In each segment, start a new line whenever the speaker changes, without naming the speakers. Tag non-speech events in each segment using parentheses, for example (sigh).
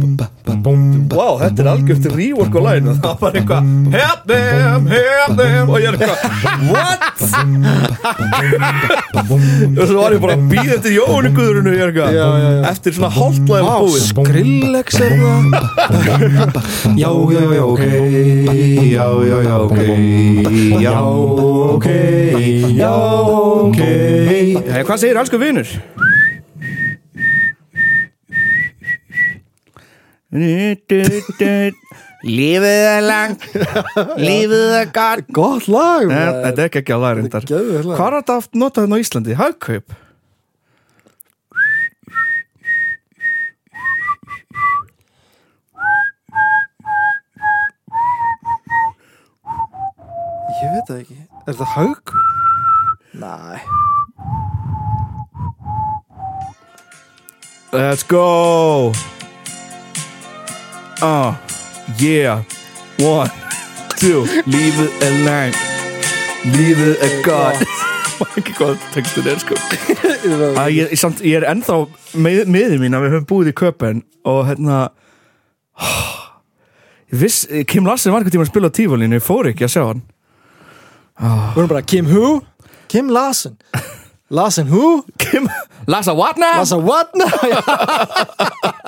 Vá, þetta er algjört rework á læginu Það var eitthvað Help them, help them Og ég er eitthvað What? Og svo var ég bara að býða eftir Jónu Guðrunu Ég er
Já, já,
eitthvað
já.
Eftir svona hálflæði var búið
Skrillex er það Já, já, já, ok Já, já, já, ok Já, ok Já, ok
Hey, Eh, Hvað segir elsku vinur? Lífið er langt Lífið er galt
Gott lag
Nei,
maður.
Eh, þetta er ekki ekki á lærindar
Þetta er geðveikt lag.
Hvað er þetta aftur notað hérna á Íslandi? Hagkaup?
Ég veit það ekki Er það haug? Næ
Let's go Ah, yeah One, (laughs) two Lífið er langt Lífið er (laughs) gott Ekki hvað textin er sko Æ, ég, ég samt, ég er ennþá með, meðið mín að við höfum búið í köpen og hérna ég viss, Kim Larsen var einhvern tíma að spila á tífólinu, ég fór ekki að sjá hann
Við erum bara Kim who? Kim Larsen Larsen who?
Kim, Lassa what now?
Larsen what now?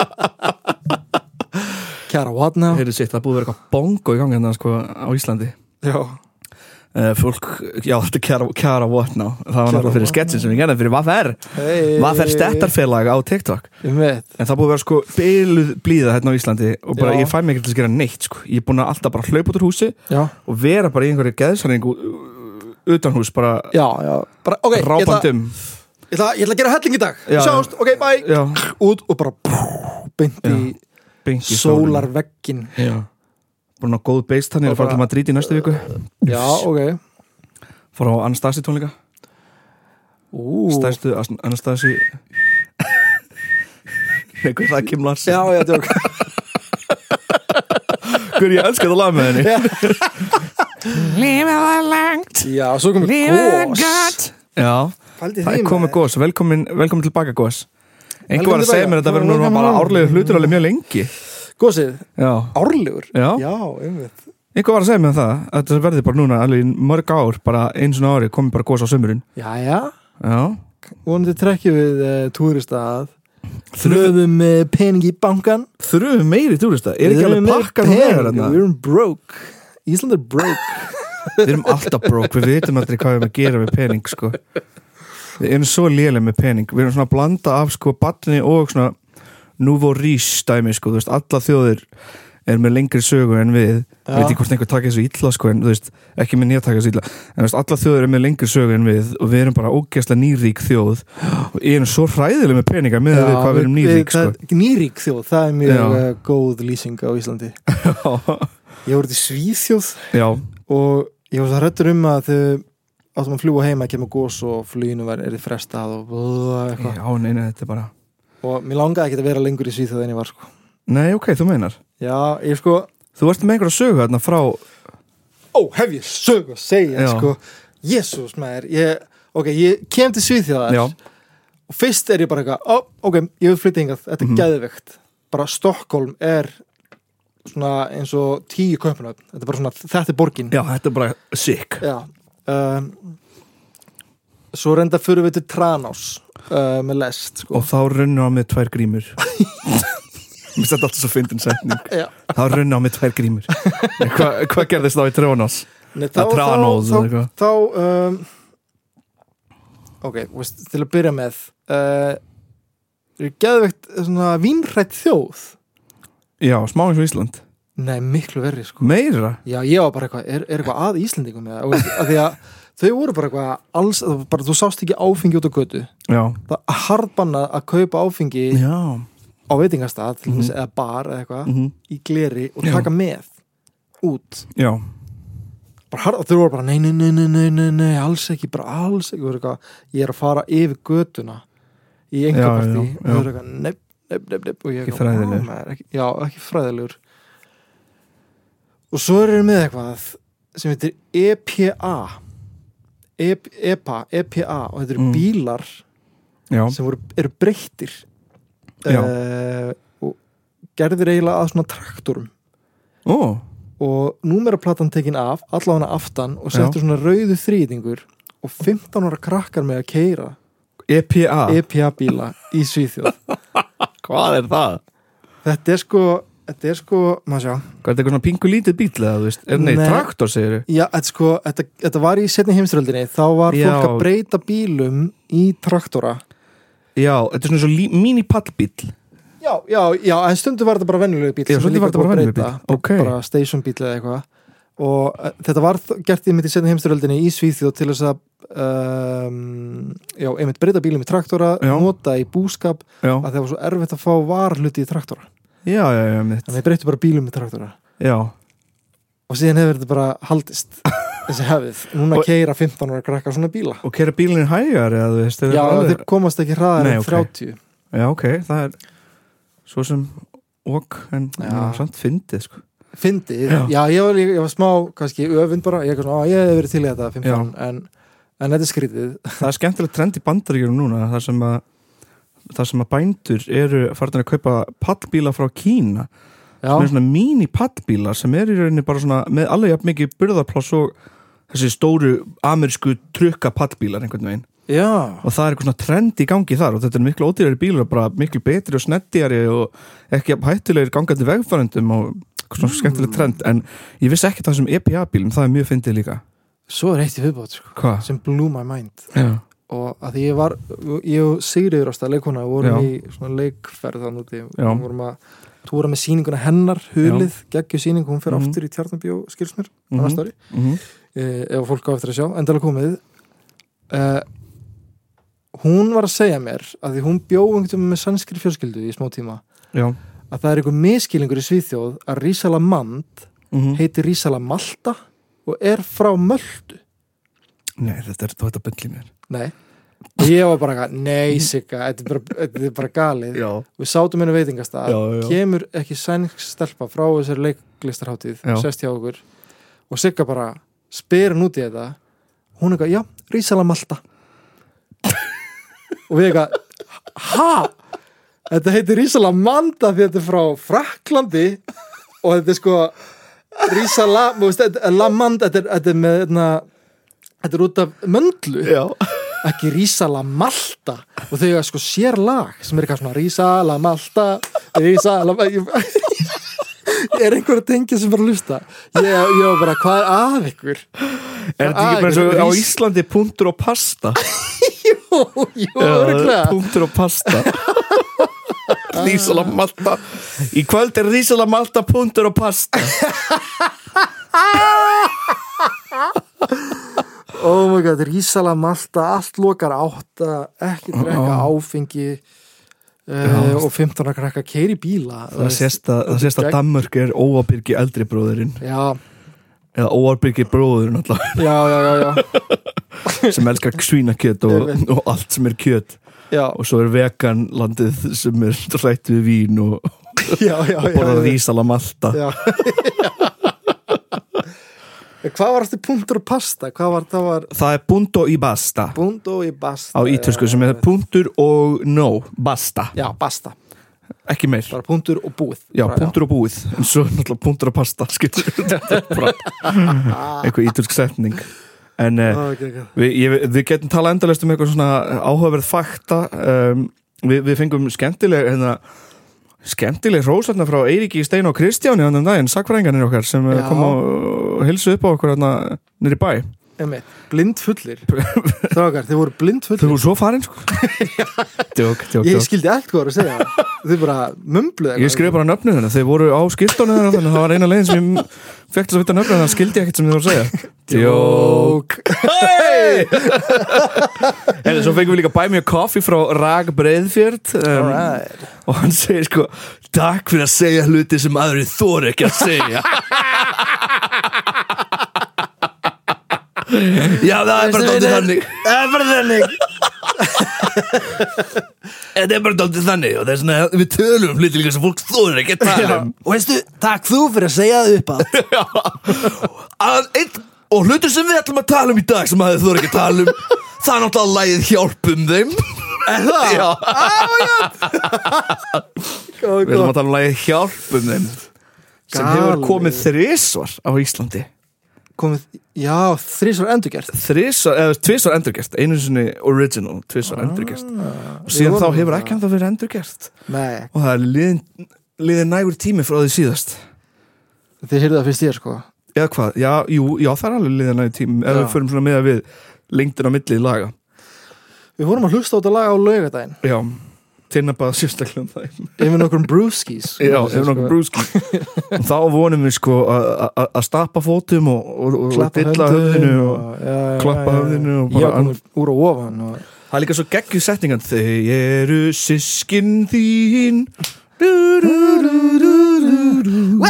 (laughs) Kjara what now?
Heyrðu sitt, það er búið að vera eitthvað bongo í gangi hérna sko á Íslandi
Já
uh, Fólk, já þetta er Kjara, Kjara What Now Það var náttúrulega fyrir
What
sketsin sem ég gerði fyrir Vaffer
Hey.
Vaffer stettarfélag á TikTok
Ég veit
En það er búið að vera sko byluð blíða hérna á Íslandi Og bara
Já.
ég fæ mig ekki til að gera neitt sko Ég er búin að alltaf bara hlaupa út úr húsi
Já
Og vera bara í einhverju geðsarningu utan hús Bara um.
Já, já bara, okay, ég ætla-
rápandum
ég ætla, ég ætla að gera helling í dag
Já, já.
Sjáumst, ok, bye
Já,
Út og bara brú, beint í
bengi
sólarveggin
Já Búin að góð beist þannig
Og
að fara
bara-
til Madrid í næstu viku
Já, ok
Fara á Anastasi tónleika
Ú.
stærstu As-
(laughs)
Anastasi Nei, hvað er það Kim Larsen?
Já, já,
(laughs)
tjók
Hver ég elska þetta lag með henni
Lífið var langt,
Já, svo komið
lífið er gott
Já,
Fældi
það er komið gos, velkomin, velkomin tilbaka gos Einhver var
Velkomin
að segja
tilbaka.
mér að þetta verður núna bara árlega hlutur alveg mjög lengi
Gósið,
Já,
árlegur
já,
Já, einmitt
einhver var að segja mér um það að Þetta verður bara núna alveg í mörg ár bara eins og ári komið bara gos á sömurinn
Jæja,
Já,
vonandi trekkjum við uh, túrista að Þröðum uh, pening í bankan
þurfum við meiri túrista Er ekki alveg hérna? pakkan og vegar
þarna
þarna?
Við erum broke Ísland er broke
Við erum alltaf broke, við vitum aldrei hvað við erum að gera með pening sko. Við erum svo lélega með pening Við erum svona að blanda af sko batni og svona Nouveau Riche dæmi sko, þú veist, alla þjóðir er með lengri sögu en við Ég
Já.
veit ekki hvort einhver taka þessu illa sko, en þú veist, ekki minn ég að taka þessu illa en þú veist, alla þjóðir er með lengri sögu en við og við erum bara ógeðslega nýrík þjóð og erum svo hræðileg með peninga með við hvað við erum nýrík (laughs) sko.
það, Nýrík þjóð, það er mjög
Já.
uh, góð lýsing á Íslandi Ég voru til Svíþjóð
Já,
og ég var svo hrættur um að þau áttum að fljúa heima, kemur gós og fluginu var erið frestað og blá, eitthvað
já, nei, nei, þetta er bara
og mér langaði ekki að vera lengur í Svíþjóð en ég var sko
Nei, ok, þú meinar
já, ég sko,
Þú varst með einhverja sögu þarna frá
ó, hef ég sög að segja
Já.
sko, jésús maður ég, ok, ég kem til Svíþjóðar
Já,
og fyrst er ég bara eitthvað, ó, ok, ég vil flytja hingað þetta er
Mhm.
mm geðveikt, bara Stokkólm er svona eins og tíu köpunöfn, þetta er bara svona þetta er borgin
já, þetta er bara sick
Já um, Svo reynda fyrir við til Tranás uh, með lest sko.
og þá runnu á mig tvær grímur (laughs) Mér stætti alltaf svo fyndin setning
Já.
Þá runnu á mig tvær grímur Hva, Hvað gerðist þá í Trónás?
Nei,
Það er Tranós eða
þá, þá,
eitthvað.
þá um, Ok, veist, til að byrja með uh, er geðvegt svona vínrætt þjóð
Já, smá eins og Ísland
Nei, miklu verri sko
Meira?
Já, ég var bara eitthvað, er, er eitthvað að Íslendingum eða, Og veist, af því að þau voru bara eitthvað alls, það var bara, þú sást ekki áfengi út á götu
Já
það er hardbannað að kaupa áfengi
Já
á veitingastað til dæmis, eða bar eða eitthvað í gleri og
Mhm. Já.
taka með út
Já,
bara harða, þau voru bara nei, nei, nei, nei, nei, nei, nei alls ekki, bara alls ekki Þau voru eitthvað, ég er að fara yfir götuna í
Já, já,
engapartí og
já.
þau voru eitthvað, nepp, nepp, nepp, nepp og ég
Ekki
eitthvað,
fræðilegur.
"Vá, maður, ekki, já, ekki fræðilegur og svo eru þeir með eitthvað sem heitir EPA e EPA, EPA og þetta eru
Mm.
bílar
já,
sem voru, eru breyttir
Já.
eh, og gerðir eiginlega að svona traktorum
Ó,
og númeraplatan tekin af allavega aftan og settur svona rauðu þrýtingur og 15 ára krakkar með að keira
EPA
EPA bíla í Svíþjóð
Hvað er það?
þetta er sko þetta er sko, maður sjá
Hvað er þetta eitthvað svona pingu lítið bíl eða, þú veist? Er, nei,
Nei.
traktor, segir þau
Já, þetta, sko, þetta, þetta var í setni heimströldinni þá var
Já.
fólk að breyta bílum í traktora
Já, þetta er svona svo lí- mini-pallbíl
Já, já, já, en stundu var þetta bara venjulegu bíl
Já,
sem
stundum
líka
var þetta bara
búið að
venjulegur bíll.
breyta,
Ókei.
Bara station bíl eða eitthvað og eh, þetta var þ- gert í mitt í setni heimströldinni í Svíþjóð til þess að um, já, einmitt breyta bílum í traktora
Já.
nota í búskap
Já,
að það var svo erfitt að fá varluti í traktora
já, já, já, mitt
þannig að breyttu bara bílum í traktora
Já,
og síðan hefur þetta bara haldist
(laughs)
þessi hefðið, núna
Og-
keira 15 ára krakkar svona bíla
og kera bílinn hægar eða, þú veist, er
Já,
alveg-
þeir komast ekki hraðar
Nei,
en
ok.
30
Já, ok, það er svo sem ok, en
Já.
já. samt fyndið sko.
Fyndið,
Já.
já, ég, var, líka- ég var smá kannski öfund bara, ég, er svona, á, ég hef verið til í þetta 15, en, en þetta er skrítið
Það er skemmtilegt trend í bandaríkjörum núna þar sem að þar sem að bændur eru farin að kaupa pallbíla frá Kína sem er
Já,
svona mini pallbíla sem er í rauninni bara svona með alveg jafn mikið burðarpláss og þessi stóru amerísku trukka pallbílar einhvern veginn
já,
og það er eitthvað svona trend í gangi þar og þetta er miklu ódýrari bílar, bara miklu betri og snettiari og ekki jafn hættulegir gangandi vegfærendum og eitthvað svona skemmtileg trend en ég vissi ekki það sem EPA bílum, E það er mjög fyndið líka
svo er eitt í viðbót sko,
Hvað?
sem blew my mind
Já.
og að því ég var, ég og Sigriður ásta leikona, vorum
Já.
í svona leikferð þannig úti,
Já.
Við vorum að túra með sýninguna hennar, hulið, geggju sýningu hún fyrir
Mhm.
aftur í Tjarnabjó, skilsmur mm
Mhm.
-hmm. annars ári
Mm
eh, ef fólk á eftir að sjá, endalega komið eh, hún var að segja mér að því hún bjóðum með sannskri fjölskyldu í smá tíma
Já.
að það er einhver miskilingur í Svíþjóð að Rísala Mand
Mm
heitir Rísala Malta og er frá Möldu
Nei, þetta er þú þetta byrlið mér
nei Og ég var bara eitthvað, nei Sigga, þetta er bara, þetta er bara galið
Já,
við sátum henni veitingast að
Já, já.
kemur ekki sænsk stelpa frá þessari leiklistarháttíð
Já.
sest hjá okkur og Sigga bara spyr hann út í þetta hún er eitthvað, já, rísala malta og við eitthvað ha? Þetta heitir rísala manda því þetta er frá Fraklandi og þetta er sko rísala, þú veist, þetta- la manda þetta er, þetta er með, hérna, þetta, þetta er út af möndlu
já.
(laughs) ekki Rísala Malta og þau eiga sko sér lag sem er eitthvað svona Rísala Malta Rísala Malta (laughs) er einhver að tengja sem bara lusta ég, ég var bara hvað er að ykkur (laughs)
Er þetta ekki bara eins og
Æ,
Ah, á
rís-
Íslandi punktur og pasta
jú, jú, (laughs) örugglega.
Punktur og pasta Rísala Malta Í kvöld er Rísala Malta punktur og pasta
oh my god, Rísala Malta allt lokar átta ekki drekka áfengi uh, og 15 að krakka keiri bíla þú
Það
veist.
sést að, það sést að
gegn-
Danmörk er óabyrgi eldri bróðurinn
já,
eða óabyrgi bróðurinn
(laughs)
alltaf
já, já, já, já.
sem elskar svínakjöt og, og allt sem er kjöt
Já,
og svo er vegan landið sem er hrætt við vín og,
já, já,
og
já,
borðar
já.
Rísala Malta
(laughs) Já Hvað var þetta punktur og pasta? Hvað var það var
Það er punto í basta
bundo í basta
á ítösku sem er punktur og no, basta,
Já, basta,
ekki meir
bara punktur og búið
já,
bara,
punktur og búið, en svo er náttúrulega punktur og pasta skilur (laughs) þetta er
(laughs)
bara eitthvað ítölsk setning en
Já,
uh,
Ó, Ah, ok, ok.
við, ég, við getum talað endalaust um eitthvað svona áhugaverð fakta um, við, við fengum skemmtileg hérna, skemmtileg rósarna frá Eiríki Stein og Kristjáni annan daginn, sakfræðingarnir okkar sem já.
Já.
kom og hilsu upp á okkur hérna, nýri bæ
Einmitt, blind
(laughs)
fullir Strákar, þið voru blind
þau
fullir
voru svo farin sko (laughs) djók, djók,
Ég
djók
skildi allt hvað voru að
(laughs)
segja Þið bara mömbluð
Ég skrif bara nöfnu þennan, þau voru á skiltónu þennan þannig að það var eina leiðin sem ég fekk til að vita nöfnu þannig að skildi ég ekkert sem þið voru að segja
Jók
(laughs) Hey! En svo fengum við líka Buy Me a Coffee frá Rag Breiðfjörd um,
Alright.
og hann segir sko Takk fyrir að segja hluti sem aðri þor ekki að segja Já, það er bara dóttir þannig
Það er bara
(laughs)
þannig
Þetta er bara dóttir þannig og það er svona við tölum um hluti líka sem fólk þor ekki að tala um
Og veistu, takk þú fyrir að segja það upp að
(laughs) Já. að einn og hlutur sem við ætlum að tala um í dag sem að þú er ekki að tala um það er náttúrulega lægið hjálpum þeim
Er það? Já Á,
Við
já
erum að tala um lagið Hjálpum þeim sem hefur
Galið.
komið þrisvar á Íslandi
Komið, já, þrísvar endurgert
þrisvar, eða tvisvar endurgert einu sinni original, tvisvar endurgert og síðan
Við
þá
vorum-
hefur ekki ennþá verið endurgert
Nei,
og það er liðin, liðin nægur tími frá því síðast
þið heyrðu það fyrst ég sko
eða hvað, já, jú, já það er alveg liðin nægur tími
Já.
eða við förum svona meða við lengdin á milli laga
Við vorum að hlusta á þetta lag á laugardaginn
já, tinna bara sérstaklega um það
Yfir nokkrum brewskis
já, ef nokkuð brúski og þá vonum við sko að- að að stappa fótum og, og, og, og dilla höfðinu og klappa höfðinu og bara-
bara úr og ofan og...
Það er líka svo geggjum setningan Þau eru sískin þín du, du, du, du, du, du.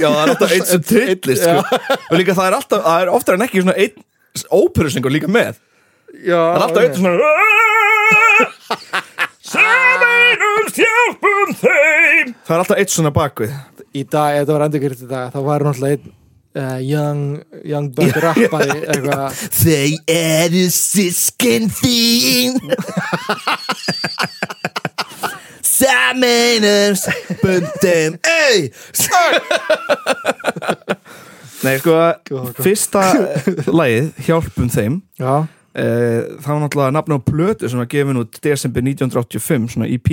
Já, það er alltaf einn sem trillir sko. Og líka það er alltaf Það er oftar en ekki svona einn óperusningur líka með
Já,
Það er alltaf einn svona Saman um þjálpum þeim Það er alltaf einn svona bakvið
Í dag, ef þetta var endurgert í dag þá var náttúrulega einn uh, young, young
(laughs)
buck rappari eitthvað
Þau eru sískin þín Saminum Bundum Ei Nei sko
Góð, góð.
Fyrsta eh, lagið Hjálpum þeim
Já,
eh, Það var náttúrulega nafn á plötu sem var gefin út desember 1985 svona EP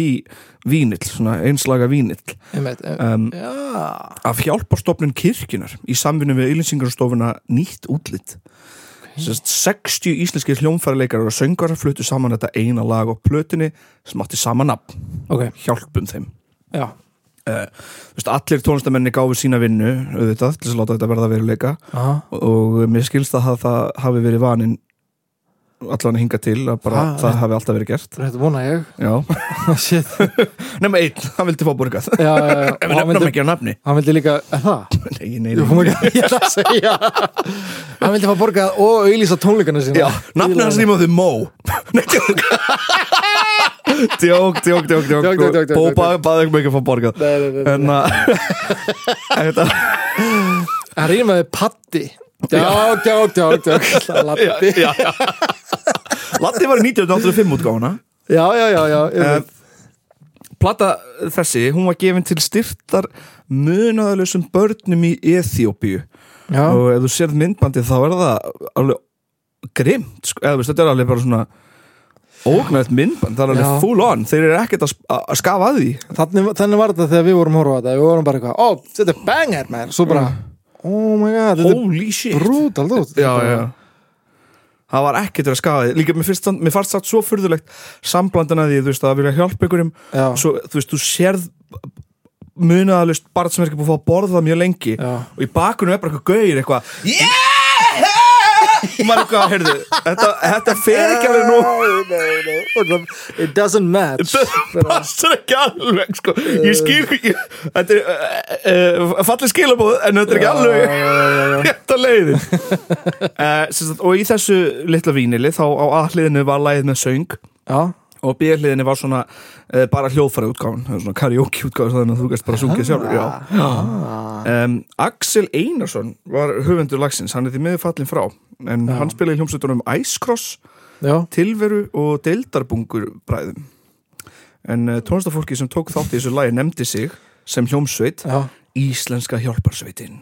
vínill, svona einslaga vínill
einmitt em-
um,
Já,
af hjálparstofnun kirkjunar í samvinni við ylinsingurstofuna nýtt útlitt Sest, 60 íslenskir hljónfærileikar og söngarar fluttu saman þetta eina lag á plötunni sem átti sama nafn,
ok,
hjálpum þeim
já
Sest, allir tónlistamenni gáfu sína vinnu auðvitað, til þess að láta þetta verða að veruleika
Aha.
og mér skilst að það, það hafi verið vanin allan hinga til að bara
Ah,
það hafi alltaf verið gert
Þetta vona
(laughs)
ég
Já, Oh,
Shit,
nema einn, hann vildi fá borgað
já, já, já
Ef við
Og hann
nefnum
vildi,
ekki á nafni (laughs)
hann vildi líka, er það?
Nei, nei,
Jú,
nei
hún ekki, ég ætla að (laughs) segja Hann vildi fá borgað og auðlýsa tónleikana sína
Já, nafnið hans rýmaði við Mó Nei, tjók Tjók, tjók, tjók,
Djók, djók, djók,
tjók
djók, djók.
Bóba, baði ekki mikið að fá borgað
Nei, nei, nei,
En
nei.
að (laughs) Þetta
Hann rýmaði patti Djók, djók, djók, djók Latti
já, já. Latti var í 1985 útgáfuna
Já, já, já, já
Eh,
einmitt.
Plata þessi, hún var gefin til styrtar munaðalösum börnum í Eþjópíu
Já,
og ef þú sérð myndbandið þá er það alveg grimt, sko, eða þú veist, þetta er alveg bara svona ógnægt myndband, það er alveg
Já.
full on þeir eru ekkert að, sp- að skafa að því
þannig, þannig var þetta þegar við vorum að horfa á þetta Við vorum bara eitthvað, ó, þetta er banger, man Svo bara, oh my god, þetta
Holy shit
er brutal, þú
Já, já Það var ekkert að skafa því Líka mér, fyrst, mér fannst það svo furðulegt Samblandin að því, þú veist, að vilja hjálpa ykkurum
Já,
Svo, þú veist, þú sérð Munaðalust barn sem er ekki búið að fá að borða mjög lengi
Já.
Og í bakunum er bara eitthvað gauðir eitthvað Yeah Og maður eitthvað, heyrðu Þetta, þetta fer ekki alveg nú
(laughs) nú It doesn't match
Þetta (laughs) passar ekki alveg sko. Ég skil ekki Þetta er uh, uh, fallið skilabóð En þetta er ekki alveg (laughs) rétt að leiðin uh, sagt, Og í þessu litla vínili Þá á aðliðinu var lagið með söng
Já,
Og bíðliðinu var svona uh, Bara hljóðfæri útgáfan Svona karaoke útgáfan Þannig að þú gæst bara sungið sjálf Já
já
Um, Axel Einarsson var höfundur lagsins, hann er því miður fallin frá en hann spilaði í hljómsveitunum Ice Cross
Já,
tilveru og deildarbungur bræðum en uh, tónlistafólki sem tók þátt í þessu lagi nefndi sig sem hljómsveit
já,
Íslenska hjálparsveitin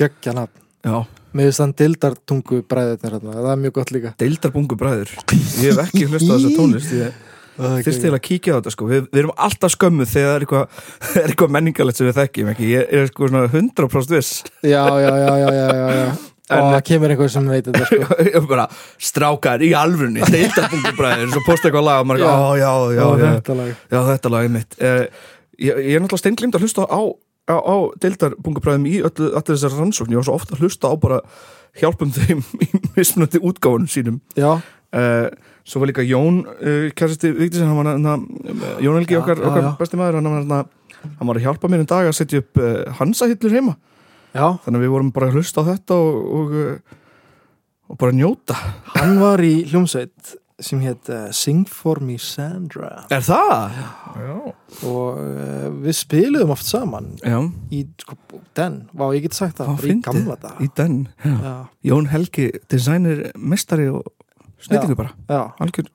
geggja nafn
Já,
Mér finnst þann dildartungu bræðirnir hérna, það er mjög gott líka
deildarbungur bræður ég hef ekki hlustað á þessa tónlist ég þyrst til að kíkja á þetta sko við, við erum alltaf skömmuð þegar það er eitthvað, (laughs) er eitthvað menningalegt sem við þekkjum ekki ég er sko svona 100% viss (laughs)
Já, já, já, já, já, já, já.
En-
Og það kemur einhver sem veit þetta sko
ég er bara strákar í alvörunni deildarbungur bræður, svo posta eitthvað lag og maður er
Já.
eitthvað, "Ó, já, já,
Og
já, já
þetta lag
Já, þetta lagið mitt uh, ég, ég er náttúrulega steinglimt að hlusta á, á, á deildarbungabræðum í öllu, öllu þessar rannsókn Ég var svo ofta að hlusta á bara hjálpum þeim (laughs) í mismunandi útgáfunum sínum
Já,
uh, Svo var líka Jón, uh, kæristi Vigdís hann var hann, Jón Helgi
Já,
okkar,
já,
okkar
já.
besti maður hann var, hérna, hann, hann var að hjálpa mér en dag að setja upp uh, hansahillur heima
já,
Þannig að við vorum bara að hlusta á þetta og, og, uh, og bara njóta
hann var í hljómsveit sem hétt uh, Sing for me Sandra
Er það? Já,
og uh, við spiluðum oft saman
Já.
í, sko, den, vá, ég get sagt það
Þá
bara í
fyndið.
gamla dag
í den Já.
Já,
Jón Helgi, designer, mestari og snillingu bara
já,
algjör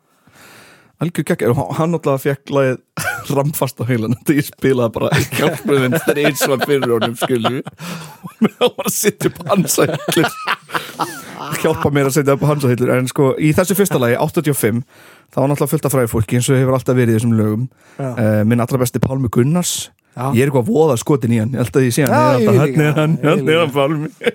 algjör gegg og hann náttúrulega fekk lagið (laughs) ramfast á heilan þetta ég spilaði bara í kjálfröðin þreysvar fyrir honum (laughs) skilju og mér var að setja upp hans hællur hjálpa mér að setja upp hans hællur en sko í þessu fyrsta lagi 85 það var náttúrulega fullt af fræði fólki eins og hefur alltaf verið í þessum lögum
já,
uh, minn allra besti Pálmi Gunnars
já.
ég er eitthvað voða skotin í hann ég held að ég sé hann
Já,
ég
ég
er alltaf, hann
líka.
er hann,
Ég
hann er hann Pálmi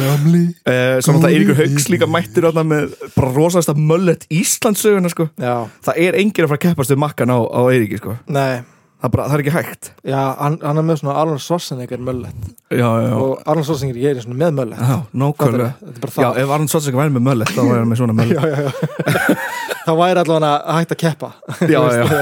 gamli
uh, svo náttúrulega Eiríkur Hauks líka mættur þarna með bara rosasta möllet Íslandsöguna sko
já,
það er enginn að fara að keppast við makkan á, á Eiríki sko.
nei,
það, er bara, það er ekki hægt
já, hann, hann er með svona Arnold Schwarzenegger möllet
já, já,
og Arnold Schwarzenegger ég er svona með möllet
já,
Fattar
nákvæmlega
þú? þetta er bara
já,
það
ef Arnold Schwarzenegger væri með möllet þá væri hann með svona möllet
já, já, já. þá væri allavega hægt að keppa
já, já. (laughs)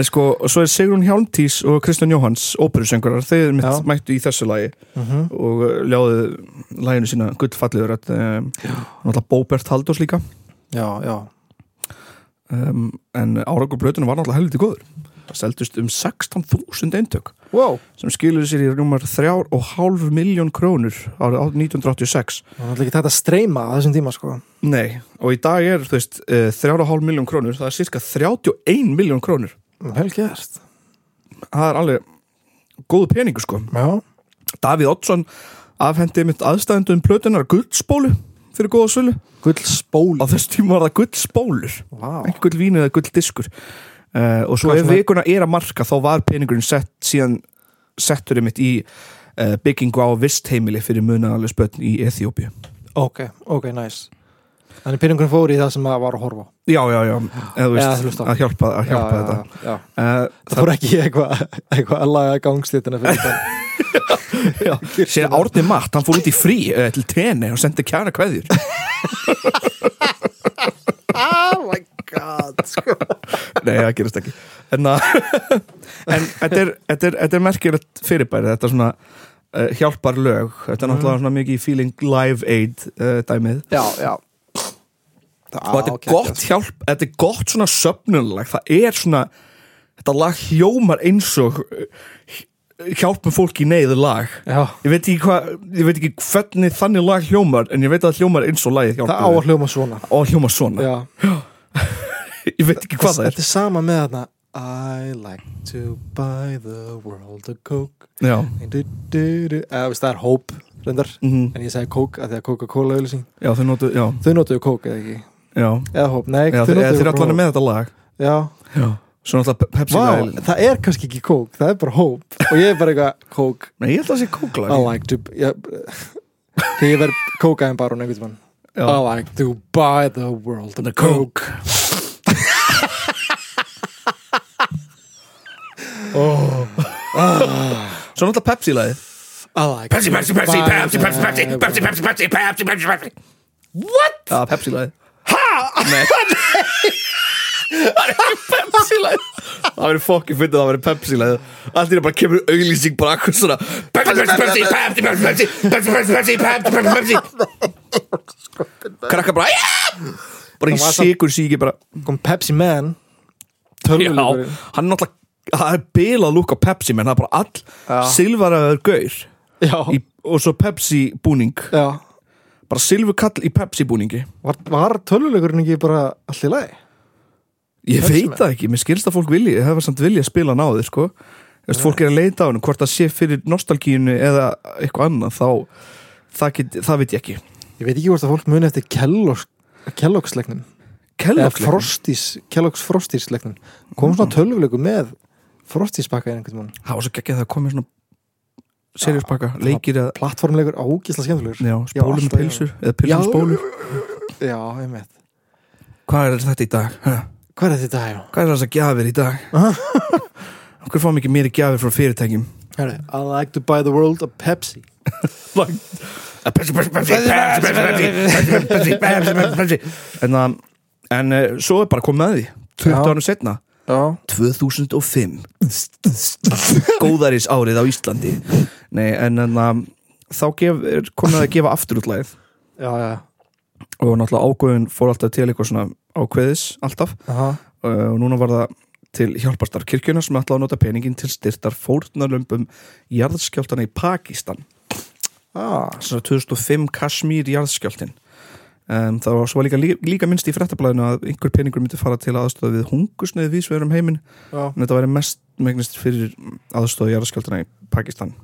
en sko, og svo er Sigrun Hjálmtís og Kristján Jóhanns, óperusöngurar þeir mitt
Já.
mættu í þessu lagi
Mhm.
og uh, ljáðu laginu sína gullfalliður að, um, náttúrulega Bóbert Haldós líka
já, já,
um, en árangur blötunum var náttúrulega helviti góður það seldust um 16.000 eintök
wow
sem skilur sér í rúmar 3,5 miljón krónur árið 1886
það er náttúrulega ekki tægt að streyma á þessum tíma sko
Nei, og í dag er, þú veist, eh, 3,5 miljón krónur, það er cirka 31 miljón krónur.
vel gert
Það er alveg góðu peningur, sko.
já,
Davíð Oddsson afhendi mitt aðstæðendum plötunar gullspólu fyrir góða svölu.
gull
Á
spól
þess tíma var það gullspólur,
wow.
ekki gullvínu eða gulldiskur. Uh, og svo
Hvað
ef
svona-
vikuna er að marka þá var peningurinn sett síðan settur mitt í uh, byggingu á vistheimili fyrir munaðalega spötn í Eþjópíu.
ok, ok, nice þannig peningurinn fór í það sem maður var að horfa á.
Já, já, já, eða þú
Eða
veist,
hlusta á.
að hjálpa, að
já,
hjálpa
já,
þetta.
já, já.
Uh,
það fór ekki í eitthvað eitthvað að laga gangslitina
(laughs)
fyrir þetta
Sér Árni Matt, hann fór út í frí uh, til tenni og sendi kjara kveðjur
(laughs) oh my god sko.
Nei, það gerist ekki En, að- (laughs) en þetta er, þetta er, þetta er merkilegt fyrirbæri Þetta er svona uh, hjálpar lög Þetta
Mhm.
er náttúrulega svona mikið í feeling live aid uh, dæmið
já, já
Og Sko, þetta er gott hjálp, þetta er gott svona söpnulag Það er svona, þetta lag hjómar eins og uh, hjálpum fólk í neyðu lag
já,
Ég veit ekki hvað, ég veit ekki hvernig þannig lag hljómar En ég veit að það hljómar eins og lagið
það
hjálpar
á að hljóma svona
Og hljómar svona
já
Ég veit ekki hvað það
(laughs)
er
Þetta er sama með þarna I like to buy the world a coke
Já,
and do, do, do. Eða, veist, það er hóp reyndar
Mhm.
en ég segi coke að því að Coca-Cola auðlýsing
já þau notu, já,
þau notuðu coke eða ekki
já
eða hóp, nei,
Já,
þau
þeir,
notuðu
þeir allan
bara
er
Coke.
með þetta lag
já,
Já Svo náttúrulega Pepsi
vá,
lag
það er kannski ekki coke, það er bara hóp og ég er bara eitthvað coke
Nei, ég held að það sé kóklag
I like to ég, þegar (laughs) ég verð kókaðin bara hún einhvern tímann
Já.
I like to buy the world a coke
Svo náttúrulega Pepsi lagið
I like Pepsi, Pepsi, Pepsi, Pepsi, Pepsi, Pepsi, Pepsi, Pepsi
Já, Ah, Pepsi lagið Ha?
(laughs)
Nei Það er ekki Pepsi lagið Það verður fokkin fyndið að það verður Pepsi lagið Allt er bara kemur auglýsing bara akkur svona Pepsi, Pepsi, Pepsi, Pepsi, Pepsi, Pepsi, Pepsi, Pepsi, Pepsi, Pepsi, Pepsi Krakka bara "Yeah!" Bara
Það
í
var samt-
sigur síki bara
Kom Pepsi Man
Já,
Tölvuleikurinn.
hann er náttúrulega það er bilað lúk á Pepsi menn það er bara all
Já.
silfaraður gaur
Já,
í, og svo Pepsi búning
já
bara silfurkall í Pepsi búningi
Var, var töluleikurinn ekki bara allt í lagi?
ég
Pepsi
veit það ekki, mér skilst að fólk vilji það var samt vilja að spila náður sko Þess, fólk er að leita á hann, hvort það sé fyrir nostalgíinu eða eitthvað annað þá það, get, það veit ég ekki
Ég veit ekki hvort að fólk muni eftir Kellogg's Kellogg's-leiknum eða
Kellogg
Frosties, Kellogg's Frosties-leiknum kom svona tölvuleikur með Frosties-pakka einhvern tímann
það var svo geggja það komið svona seriðspaka, leikir eða
plattformleikur ágísla skemmtilegur
já,
Já,
spólum
alltaf,
með pilsur eða pilsum
Já.
spólum
Já, einmitt
hvað er þetta í dag? Ha?
Hvað er þetta hér?
Hvað er þess að gjafir í
(laughs)
dag? Okkur fáum ekki meiri gjafir frá fyrirtækjum
Herri, I like to buy the world a Pepsi (laughs)
En það En uh, svo er bara komið að því 20
Já.
árum setna
Já
2005 Góðaris árið á Íslandi Nei, en, en um, þá gef, er komið að gefa aftur útlæð
Já, já
og náttúrulega ágöðun fór alltaf til eitthvað svona ákveðis alltaf
Aha.
uh, og núna var það til hjálparstar kirkjuna sem ætlaði að nota peningin til styrtar fórnarlömbum jarðskjáltana í Pakistan
Ah,
Þessar 2005 Kashmir jarðskjáltin um, það var svo líka, líka, líka minnst í frettablaðinu að einhver peningur myndi fara til aðstofa við hungusneið vísvegar um heiminn
Já.
en þetta væri mest megnist fyrir aðstofa jarðskjöldina í Pakistan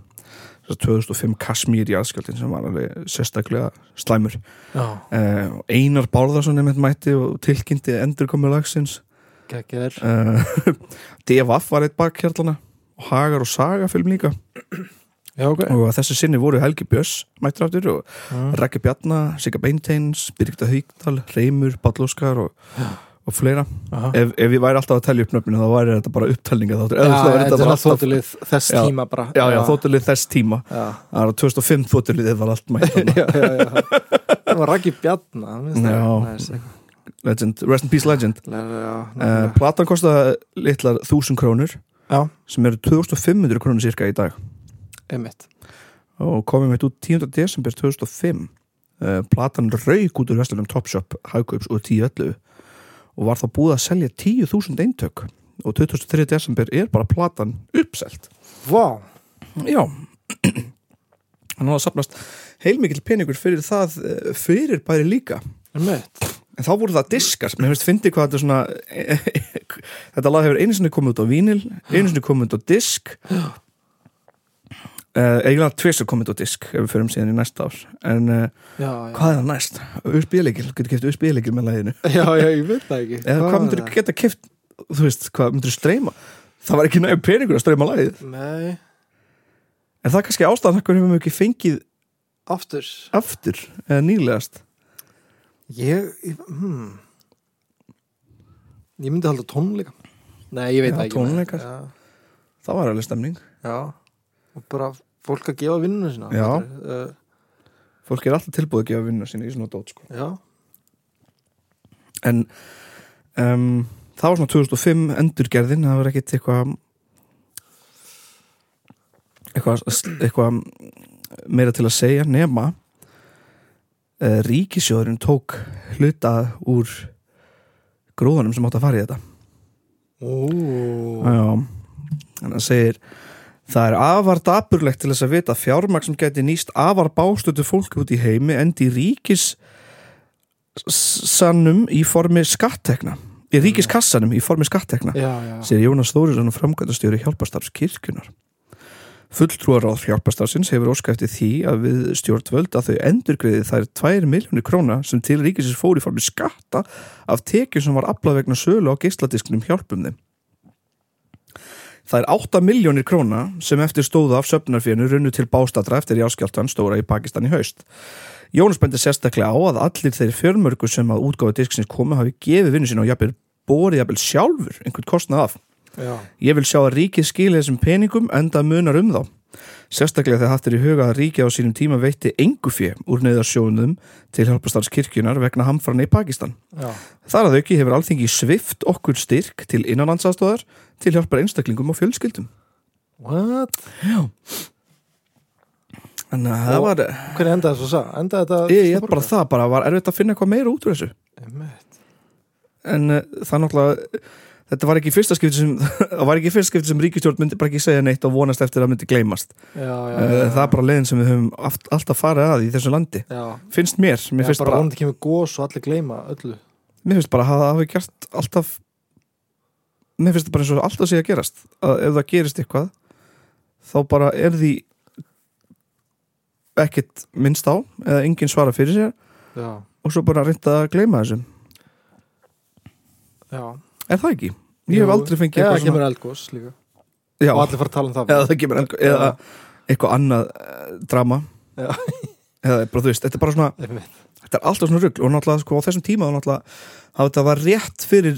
Þess að 2005 Kashmir jarðskjöldin sem var alveg sérstaklega slæmur
Já,
uh, Einar Bárðarsson einmitt mætti og tilkynnti endurkomu lagsins
geggjær
uh, (laughs) DFF var eitt bakkjarlana og Hagar og Saga film líka
Já, ok Mm.
og að þessi sinni voru Helgi Björns mættur aftur og Rækki Bjarna, Sigga Beinteins, Birgitta Haugdal, Reymur, Ballóskar og, og fleira.
Aha.
Ef, ef ég væri alltaf að telja upp nöfninu þá væri þetta bara upptelninga þáttur.
Já,
Eða þú veist, þá væri
þetta er
bara
að þótulið þess
Já.
tíma bara
Já, já, þóttilið þess tíma.
Já,
(laughs) Það var 2005 þóttilið var allt mætt. (laughs) þarna.
já, já, já. Það var Raggi Bjarna hann finnst
Já.
það næs, eitthvað.
legend, rest in peace legend.
Já,
Uh,
nefnilega.
platan kostaði litlar 1000 krónur
Já,
sem eru 2500 krónur cirka í dag
einmitt
og komið meitt út 10. desember 2005 uh, platan rauk út úr vestlunum Topshop, Hagkaups og 10.11 og var þá búið að selja 10.000 eintök og 23. desember er bara platan uppselt
Vá,
já (clears throat) hann var að sapnast heilmikil peningur fyrir það eh, fyrir bæri líka
einmitt
en þá voru það diskar mér finnst fyndi hvað þetta er svona (laughs) þetta lag hefur einu sinni komið út á vínil einu sinni komið út á disk uh, eiginlega tvisar komið út á disk ef við förum síðan í næsta ár en uh,
Já, já,
hvað er það næst? USB-leikil, getur kæft USB-leikil með laginu
(laughs) já, já, ég veit það ekki
eða hvað
var
myndir
það?
geta kæft þú veist, hvað myndir streyma það var ekki nægum peningur að streyma lagið
Nei,
en það er kannski ástæðan hvernig við höfum ekki fengið
aftur
aftur eða nýlegast
Ég, ég, hmm. ég myndi halda tónleika Nei, ég veit
Já,
það ekki
tónleika.
já,
það var alveg stemning
já, og bara fólk að gefa vinnuna sína
Já.
uh,
fólk er alltaf tilbúið að gefa vinnu sinni í svona dót sko
já.
en um, það var svona 2005 endurgerðin, það var ekkit eitthvað eitthvað eitthvað meira til að segja nema uh, ríkisjóðurinn tók hluta úr gróðanum sem átt að fara í þetta
Ó,
Já, þannig að segir Það er afar dapurlegt til þess að vita að fjármagn sem geti nýst afar bástötu fólki út í heimi endi í ríkis sannum í formi skattekna í ríkiskassanum í formi skattekna
já, (laughs) já,
segir Jónas Þórisson og framkvæmdastjóri hjálpastarfs kirkjunar. Fulltrúaráð hjálpastarfsins hefur óska eftir því að við stjórnvöld að þau endurgriði þær 2 miljónir króna sem til ríkisins fór í formi skatta af tekjum sem var aflað vegna sölu á geisladisknum hjálpum þeim. Það er 8 miljónir króna sem eftir stóða af söfnarfjörnu runnu til bástatra eftir jáskjáltan stóra í Pakistan í haust. Jónas bendir sérstaklega á að allir þeir fjörmörgu sem að útgáfa disksins komu hafi gefið vinnu sín og jafnir borið jafnvel sjálfur einhvern kostnað af.
já.
Ég vil sjá að ríkið skilja þessum peningum enda munar um þá. Sérstaklega þegar haft er í huga að ríkið á sínum tíma veitti engu fjö úr neyðarsjónum til hjálpastarskirkjunar vegna hamfarni í Pakistan.
já.
Þar að auki hefur alþingi svift okkur styrk til innanlandsastóðar til hjálpar einstaklingum og fjölskyldum.
What?
Þannig að eh, það
Og-
var,
Hvernig endaði þessu sá? Endaði þetta
ég, ég bara það bara var erfitt að finna eitthvað meira út úr þessu.
Einmitt.
En uh, það náttúrulega, þetta var ekki í fyrsta skipti sem, (laughs) það var ekki í fyrsta skipti sem ríkistjórn myndi bara ekki segja neitt og vonast eftir að myndi gleymast.
Já, já, já,
Uh, það er bara leiðin sem við höfum aft, alltaf farið að í þessu landi
já.
finnst mér, mér finnst
Mér finnst bara
bara,
vonandi kemur gós og allir gleyma öllu
mér finnst bara að það hafi gert alltaf mér finnst bara eins og alltaf sé að gerast að ef það gerist eitthvað þá bara er því ekkit minnst á eða enginn svara fyrir sér
Já,
og svo bara reynda að gleyma þessum
já
er það ekki? Ég hef
Jú.
aldrei fengið
Já,
eitthvað
það kemur eldgós líka
já,
(laughs) Og allir fara að tala um það
eða það kemur einhver, eða eitthvað annað uh, drama
Já.
eða bara þú veist, þetta er bara svona
Einmitt.
þetta er alltaf svona rugl og náttúrulega sko á þessum tíma þá náttúrulega hafa þetta var rétt fyrir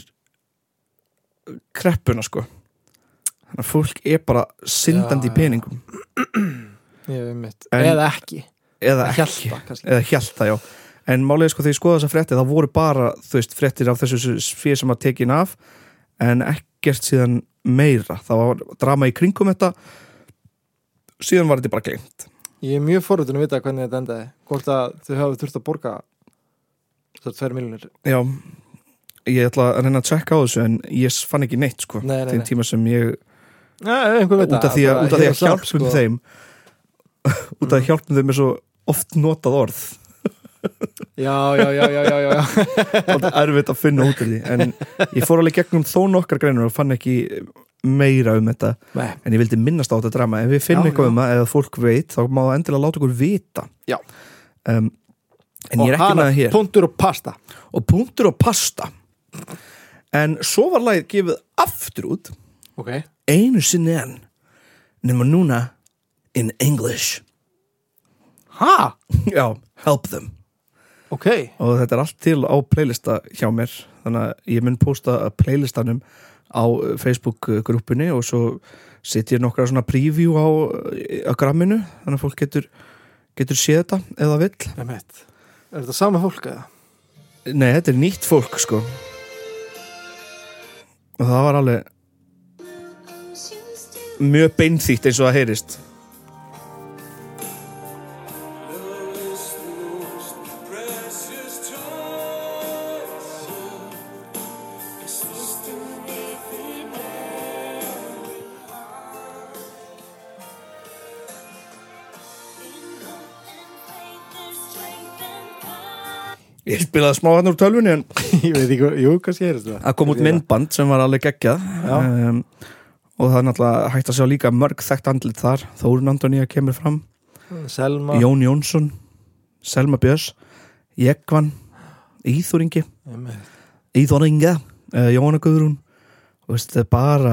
kreppuna sko þannig að fólk er bara syndandi
Já,
í peningum
Ég hef mitt
En-
Eða ekki
eða ekki,
Hjalta, kannski
eða hjálta já en málið er sko þegar ég skoða þessa frétti þá voru bara þú veist fréttir af þessu fyrir sem að tekin af en ekkert síðan meira það var drama í kringum þetta síðan var þetta bara gleymt
Ég er mjög forutun að vita hvernig þetta endaði Hvort að þau hafa þurft að borga Þetta tveir miljonir
já ég ætla að reyna að tjekka á þessu en ég fann ekki neitt sko
Nei, nei,
þeim
nei.
tíma sem ég
Nei, einhver veit
út af því að, út af
bara sko.
því
hefur
að
sagt,
hjálpum þeim út af því að hjálpum þeim er svo oft notað orð
já, já, já, já, já, já. (laughs)
Þetta er erfitt að finna út af því En ég fór alveg gegnum þó nokkar greinur og fann ekki meira um þetta
Nei.
En ég vildi minnast á þetta drama Ef við finnum
Já,
eitthvað um það eða fólk veit Þá má það endilega láta okkur vita
Já.
um, En ég er
og
ekki
hana,
með það hér
punktur og pasta
Og punktur og pasta En svo var lagið gefið aftur út
ok,
Einu sinni enn Nefnum núna In English (laughs)
ha,
Já, help them
ok
og þetta er allt til á playlista hjá mér þannig að ég mun posta playlistanum á eh, Facebook eh, grúppunni og svo setjum ég nokkra svona preview á, eh, á gramminu þannig að fólk getur, getur séð þetta ef það vill.
Einmitt. er þetta sama fólk eða?
Nei, þetta er nýtt fólk sko og það var alveg mjög beinþýtt eins og það heyrist Ég spilaði smá hann úr tölvunni en
(laughs) ég veit ekki, jú, kannski er þetta
að kom út myndband sem var alveg geggjað um, og það er náttúrulega hægt að sjá líka mörg þekkt andlit þar Þórun Antonía kemur fram,
Selma,
Jón Jónsson Selma Björns, Jekvan Íþóringi
Einmitt.
Íþóringa, uh, Jóna Guðrún og veist, þetta er bara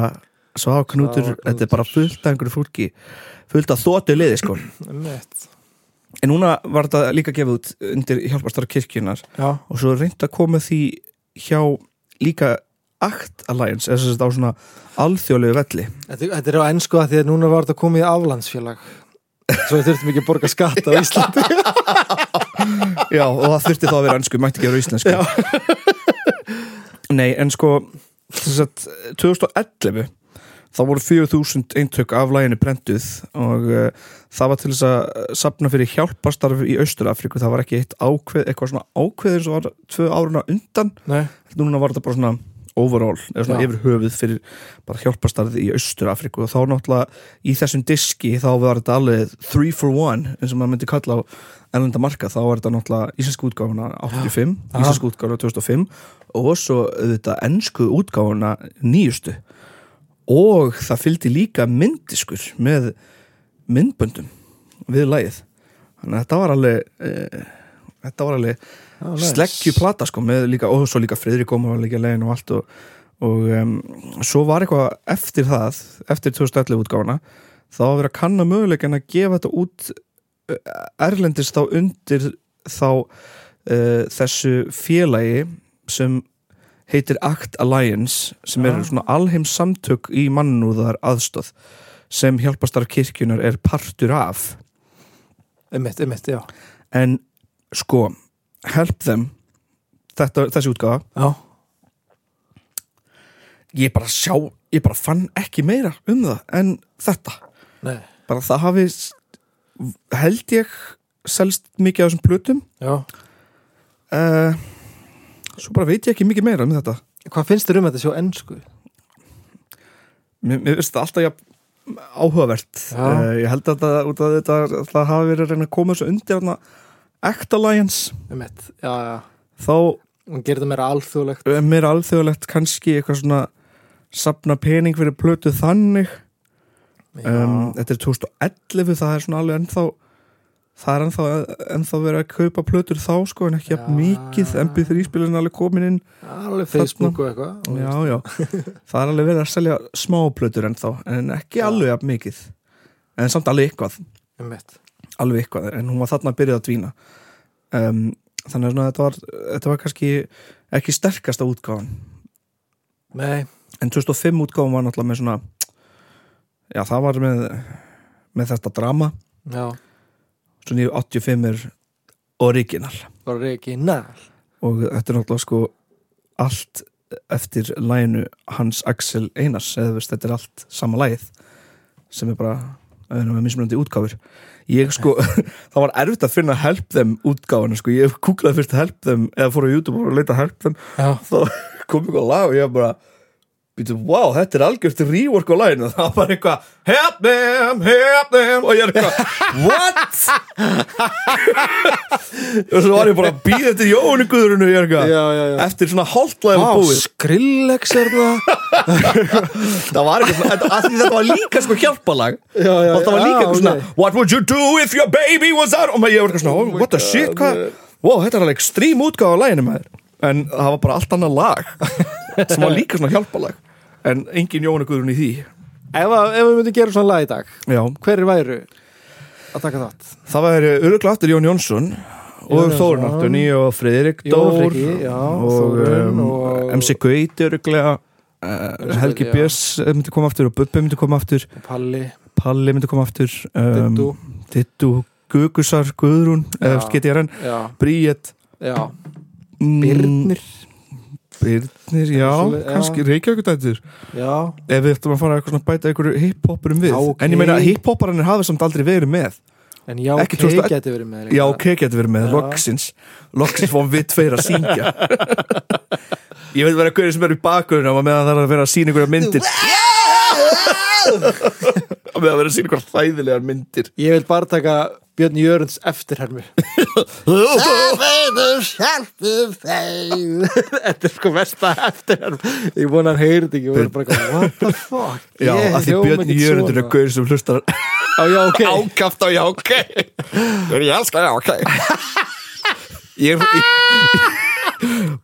Svava Knútur,
Svava Knútur.
þetta er bara fullt af einhverju fólki, fullt af þóttu liði sko.
Einmitt.
en núna var þetta líka gefið út undir hjálparstar kirkjunar
já,
og svo reynd að koma því hjá líka ACT Alliance eða þess að á svona alþjóðlegu velli
þetta, þetta er á ennsku að því að núna var þetta komið í aflandsfélag svo við þurftum ekki að borga
(laughs)
skatt á Íslandi
Já, og það þurfti þá að vera ennsku, mætti ekki vera íslensku (laughs) Nei, en sko þess að 2011 þá voru 4000 eintök af læginu prentuð og uh, það var til þess að sapna fyrir hjálparstarf í Austur-Afríku, það var ekki eitt ákveð eitthvað svona ákveðir sem var tvö áruna undan
nei,
núna var þetta bara svona overall, eða svona
Já.
yfir höfuð fyrir bara hjálpastarðið í Austur-Afríku og þá náttúrulega í þessum diski þá var þetta alveg 3 for 1 eins og maður myndi kalla á ennlenda marka þá var þetta náttúrulega íslensku útgáfuna 85,
Já.
íslensku útgáfuna 2005 og svo þetta ennsku útgáfuna nýjustu og það fylgdi líka myndiskur með myndböndum við lagið þannig að þetta var alveg e, þetta var alveg
Já, nice.
sleggju plata sko með líka, og svo líka Friðrik Ómar var líka legin og allt og, og um, svo var eitthvað eftir það eftir 2011 útgáfuna þá var verið að kanna möguleikin að gefa þetta út uh, erlendis þá undir þá uh, þessu félagi sem heitir Act Alliance sem eru svona alheims samtök í mannúðar aðstóð sem hjálpastar kirkjunar er partur af
einmitt, einmitt, já
en sko, help them þetta, þessi útgáfa
já,
ég bara sjá, ég bara fann ekki meira um það en þetta
nei,
bara það hafi s- held ég selst mikið af þessum plötum
já
uh, svo bara veit ég ekki mikið meira um þetta
hvað finnst þér um þetta sjó ennsku?
mér, mér finnst það alltaf jafn áhugavert
Já.
uh, ég held að það, út af þetta, það hafi verið að reyna að koma þessu undir hana Act Alliance
einmitt, já, já
þá eh,
hún gerir það meira alþjóðlegt
mér alþjóðlegt kannski eitthvað svona sapna pening fyrir plötu þannig um,
Já.
þetta er 2011 það er svona alveg ennþá það er ennþá, ennþá verið að kaupa plötur þá sko en ekki
Já.
jafn mikið MP3 spilin alveg komin inn
alveg Facebook og eitthvað og
já, já. það er alveg verið að selja smá plötur ennþá en ekki
Já.
alveg jafn mikið en samt alveg eitthvað
einmitt,
alveg eitthvað en hún var þarna að byrja að dvína um, þannig að svona þetta var, þetta var kannski ekki sterkasta útgáfan
nei,
en 2005 útgáfum var náttúrulega með svona já það var með með þetta drama
já
svo nýju 85 er original
var regional
og þetta er náttúrulega sko allt eftir læginu Hans Axel Einars eða veist þetta er allt sama lægið sem er bara að vera með mismunandi útgáfur ég sko, (laughs) það var erfitt að finna help them útgáfuna sko, ég kúklaði (laughs) fyrst help them eða fór á YouTube og fór að leita help them
já,
þá kom eitthvað lag og ég var bara býtu, wow, þetta er algjört rework á læginu (laughs) það var eitthvað, help them, help them og ég er eitthvað, what? (laughs) og svo var ég bara að býða eftir Jóhannu Guðrunu ég er
Já, já, já.
eitthvað, eftir svona hálftlæði
Vá,
var búið
skrillex er það
það var eitthvað, svona- að því þetta var líka sko hjálpalag
Já, já,
og það var
já,
líka
ok.
eitthvað svona what would you do if your baby was out og maður- ég var eitthvað svona, oh, what the shit, hvað wow, þetta er alveg ekstrím útgáfa á læginu maður en það var bara allt annað lag (laughs) sem var líka svona hjálpalag en engin Jóhannu Guðrun í því
(laughs) Ef, að- ef við myndum gera svona lag í dag
Já,
Hverir væru að taka þátt?
það væri öruglega aftur Jón Jónsson og
Jón Jónsson.
Þórun Áttunni og Friðrik
Jón og
Dór
Friggi, já,
og,
Þórunn
um,
og-
MC Gauti öruglega uh, Helgi
já.
Björns myndi koma aftur og Bubbi myndi koma aftur
Palli,
Palli myndi koma aftur um,
Dittu
Dittu Gugusar, Guðrún
Já.
eða GTRN,
Já,
Bríett
já
mm,
Birnir
Birnir, já,
Svoleið- já.
kannski Reykjavíkudættur
Já,
ef við ættum að fara eitthvað svona að bæta einhverju hiphopurum við
Já, ok.
en ég meina hiphoparannir hafa samt aldrei verið með
en já,
Ekki
ok,
2000
geti verið með líka.
já, ok, getur verið með,
Já.
loksins loksins fórum við tveir að syngja ég veit vera hverju sem er í bakgrunna og meðan það er að vera að sína einhverja myndir (laughs) og meðan það er að sína einhverja þæðilegar myndir
Ég vil bara taka Björn Jörns eftirhermi (laughs) Þetta er sko versta eftirhermi Ég vona hann heyrði ekki og verður bara eitthvað, What the fuck
já,
Ég
að því
hljóma
Björn
ekkert
Jörundur er
svona.
hverju sem hlustar
Á, já, ok
ákaft á já, ok (laughs) Ég elskar já, ok (laughs) Ég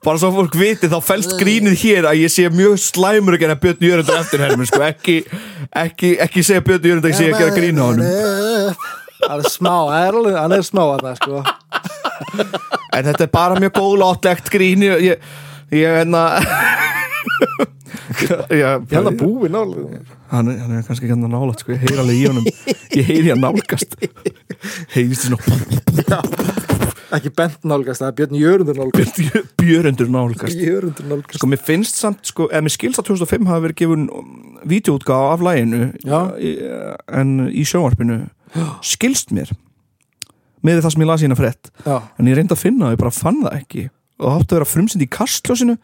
Bara svo fólk viti þá fælst grínið hér að ég sé mjög slæmur að gera Björn Jörundur eftir hermur sko. ekki, ekki, ekki segja Björn Jörundur að ég sé að gera grín á honum
Hann er smá, hann er alveg- hann er smá að það sko
En þetta er bara mjög góðláttlegt grín Ég, ég, ég hérna- enna (laughs) Ég
Ég hann að búi nálega
hann, er- hann er kannski ekki hann að nála sko. ég heyri alveg í honum, ég heyri hann (laughs) nálgast heyrist í svona
Ekki bent nálgast, það er Björn Jörundur nálgast
Björn Jörundur nálgast
Jörundur nálgast
Sko, mér finnst samt, sko, eða mér skilst að 2005 hafi verið gefun vídeoutgáð af læginu
Já.
í, eh, en í sjónvarpinu skilst mér með það sem ég las í hérna frétt
Já,
en ég reyndi að finna það, ég bara fann það ekki og það átti að vera frumsind í kastljósinu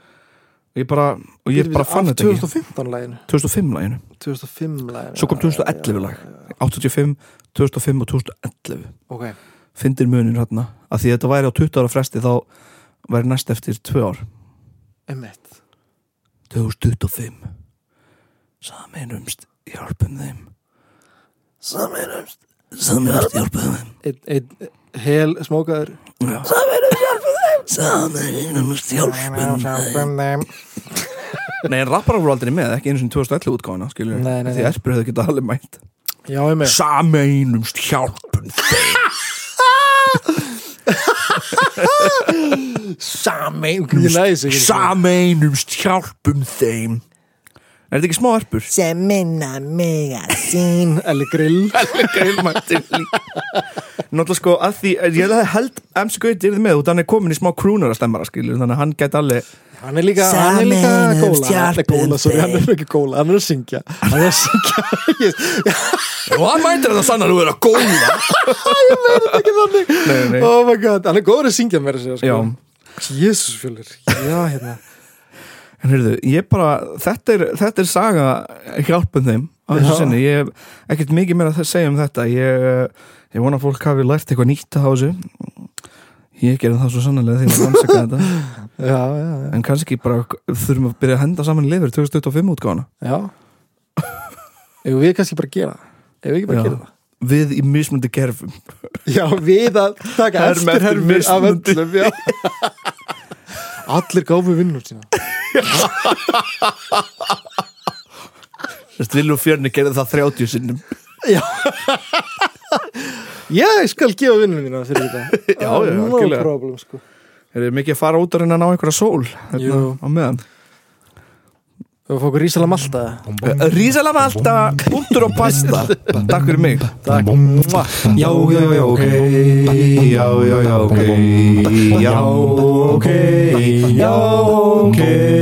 ég bara, og ég bara fann þetta ekki
2015 læginu
2005 læginu,
2005 læginu
svo kom 2011 lag 85, 2005 og 2011
Ok,
fyndir munin hérna, af því þetta væri á 20 ára fresti þá væri næst eftir 2 ár
emmitt
2025 Sameinumst hjálpum þeim Sameinumst Sameinumst hjálpum þeim
Einn ein, hel smókaður
Sameinumst hjálpum Nei, en rappar voru aldrei með, ekki einu sinni 2011 útgáfuna skilur,
Nei, nei,
því
nei.
erpur hefðu getað alveg mætt
Já, emmitt
Sameinumst hjálpum þeim
Sami Ég læði sig
Sameinumst hjálpum þeim Er þetta ekki smá erpur? (laughs)
sem minna mig að sín
Elli grill
Grillmættir Náttúrulega sko að því Ég hefði held MC Gauti yrði með út Hann er komin í smá krúnara stemmara skilur Þannig að hann gæti alveg
Hann er líka, hann er líka góla
Sameinumst
Hann er
hjálpum
góla, sorry,
þeim.
hann er ekki góla Hann er að syngja Hann er að syngja Ég-
Og hann mætir þetta sann að þú er að (laughs) góla
Ég meina þetta ekki þannig
Nei, nei.
Oh my god, hann er góður að syngja mér að segja
Já.
sko. Jesus fjölur Já, hérna
(laughs) En heyrðu, ég bara, þetta er, þetta er saga hjálpum þeim á þessu
Já.
sinni, ég hef ekkert mikið meira að segja um þetta ég, ég vona að fólk hafi lært eitthvað nýtt á þessu ég gerði það svo sannlega þegar ég rannsaka (laughs) þetta
Já, já, já
en kannski bara þurfum að byrja að henda saman lifur 2025 útgáfana
Já Ef við kannski bara gera það Ef við ekki bara
Já.
gera það
við í mismundi gerfum
Já, við að taka
Herm eftir
eftirhermur af
mismunandi.
öllum já.
(laughs)
Allir gáfu vinnur sína
Stillu og Fjörni gerði það 30 sinnum
Já Ég skal gefa vinnur mína fyrir þetta
(laughs)
Ah,
Já, já,
No
algjörlega.
problem sko
Er þið mikið að fara út að reyna að ná einhverja sól hérna,
Jú.
á meðan?
Við fókum rísalam alltaf
Rísalama alltaf, búntur og pasta Takk fyrir mig
Takk
Já, já, já, ok Já, já, já, ok Já, ok Já, ok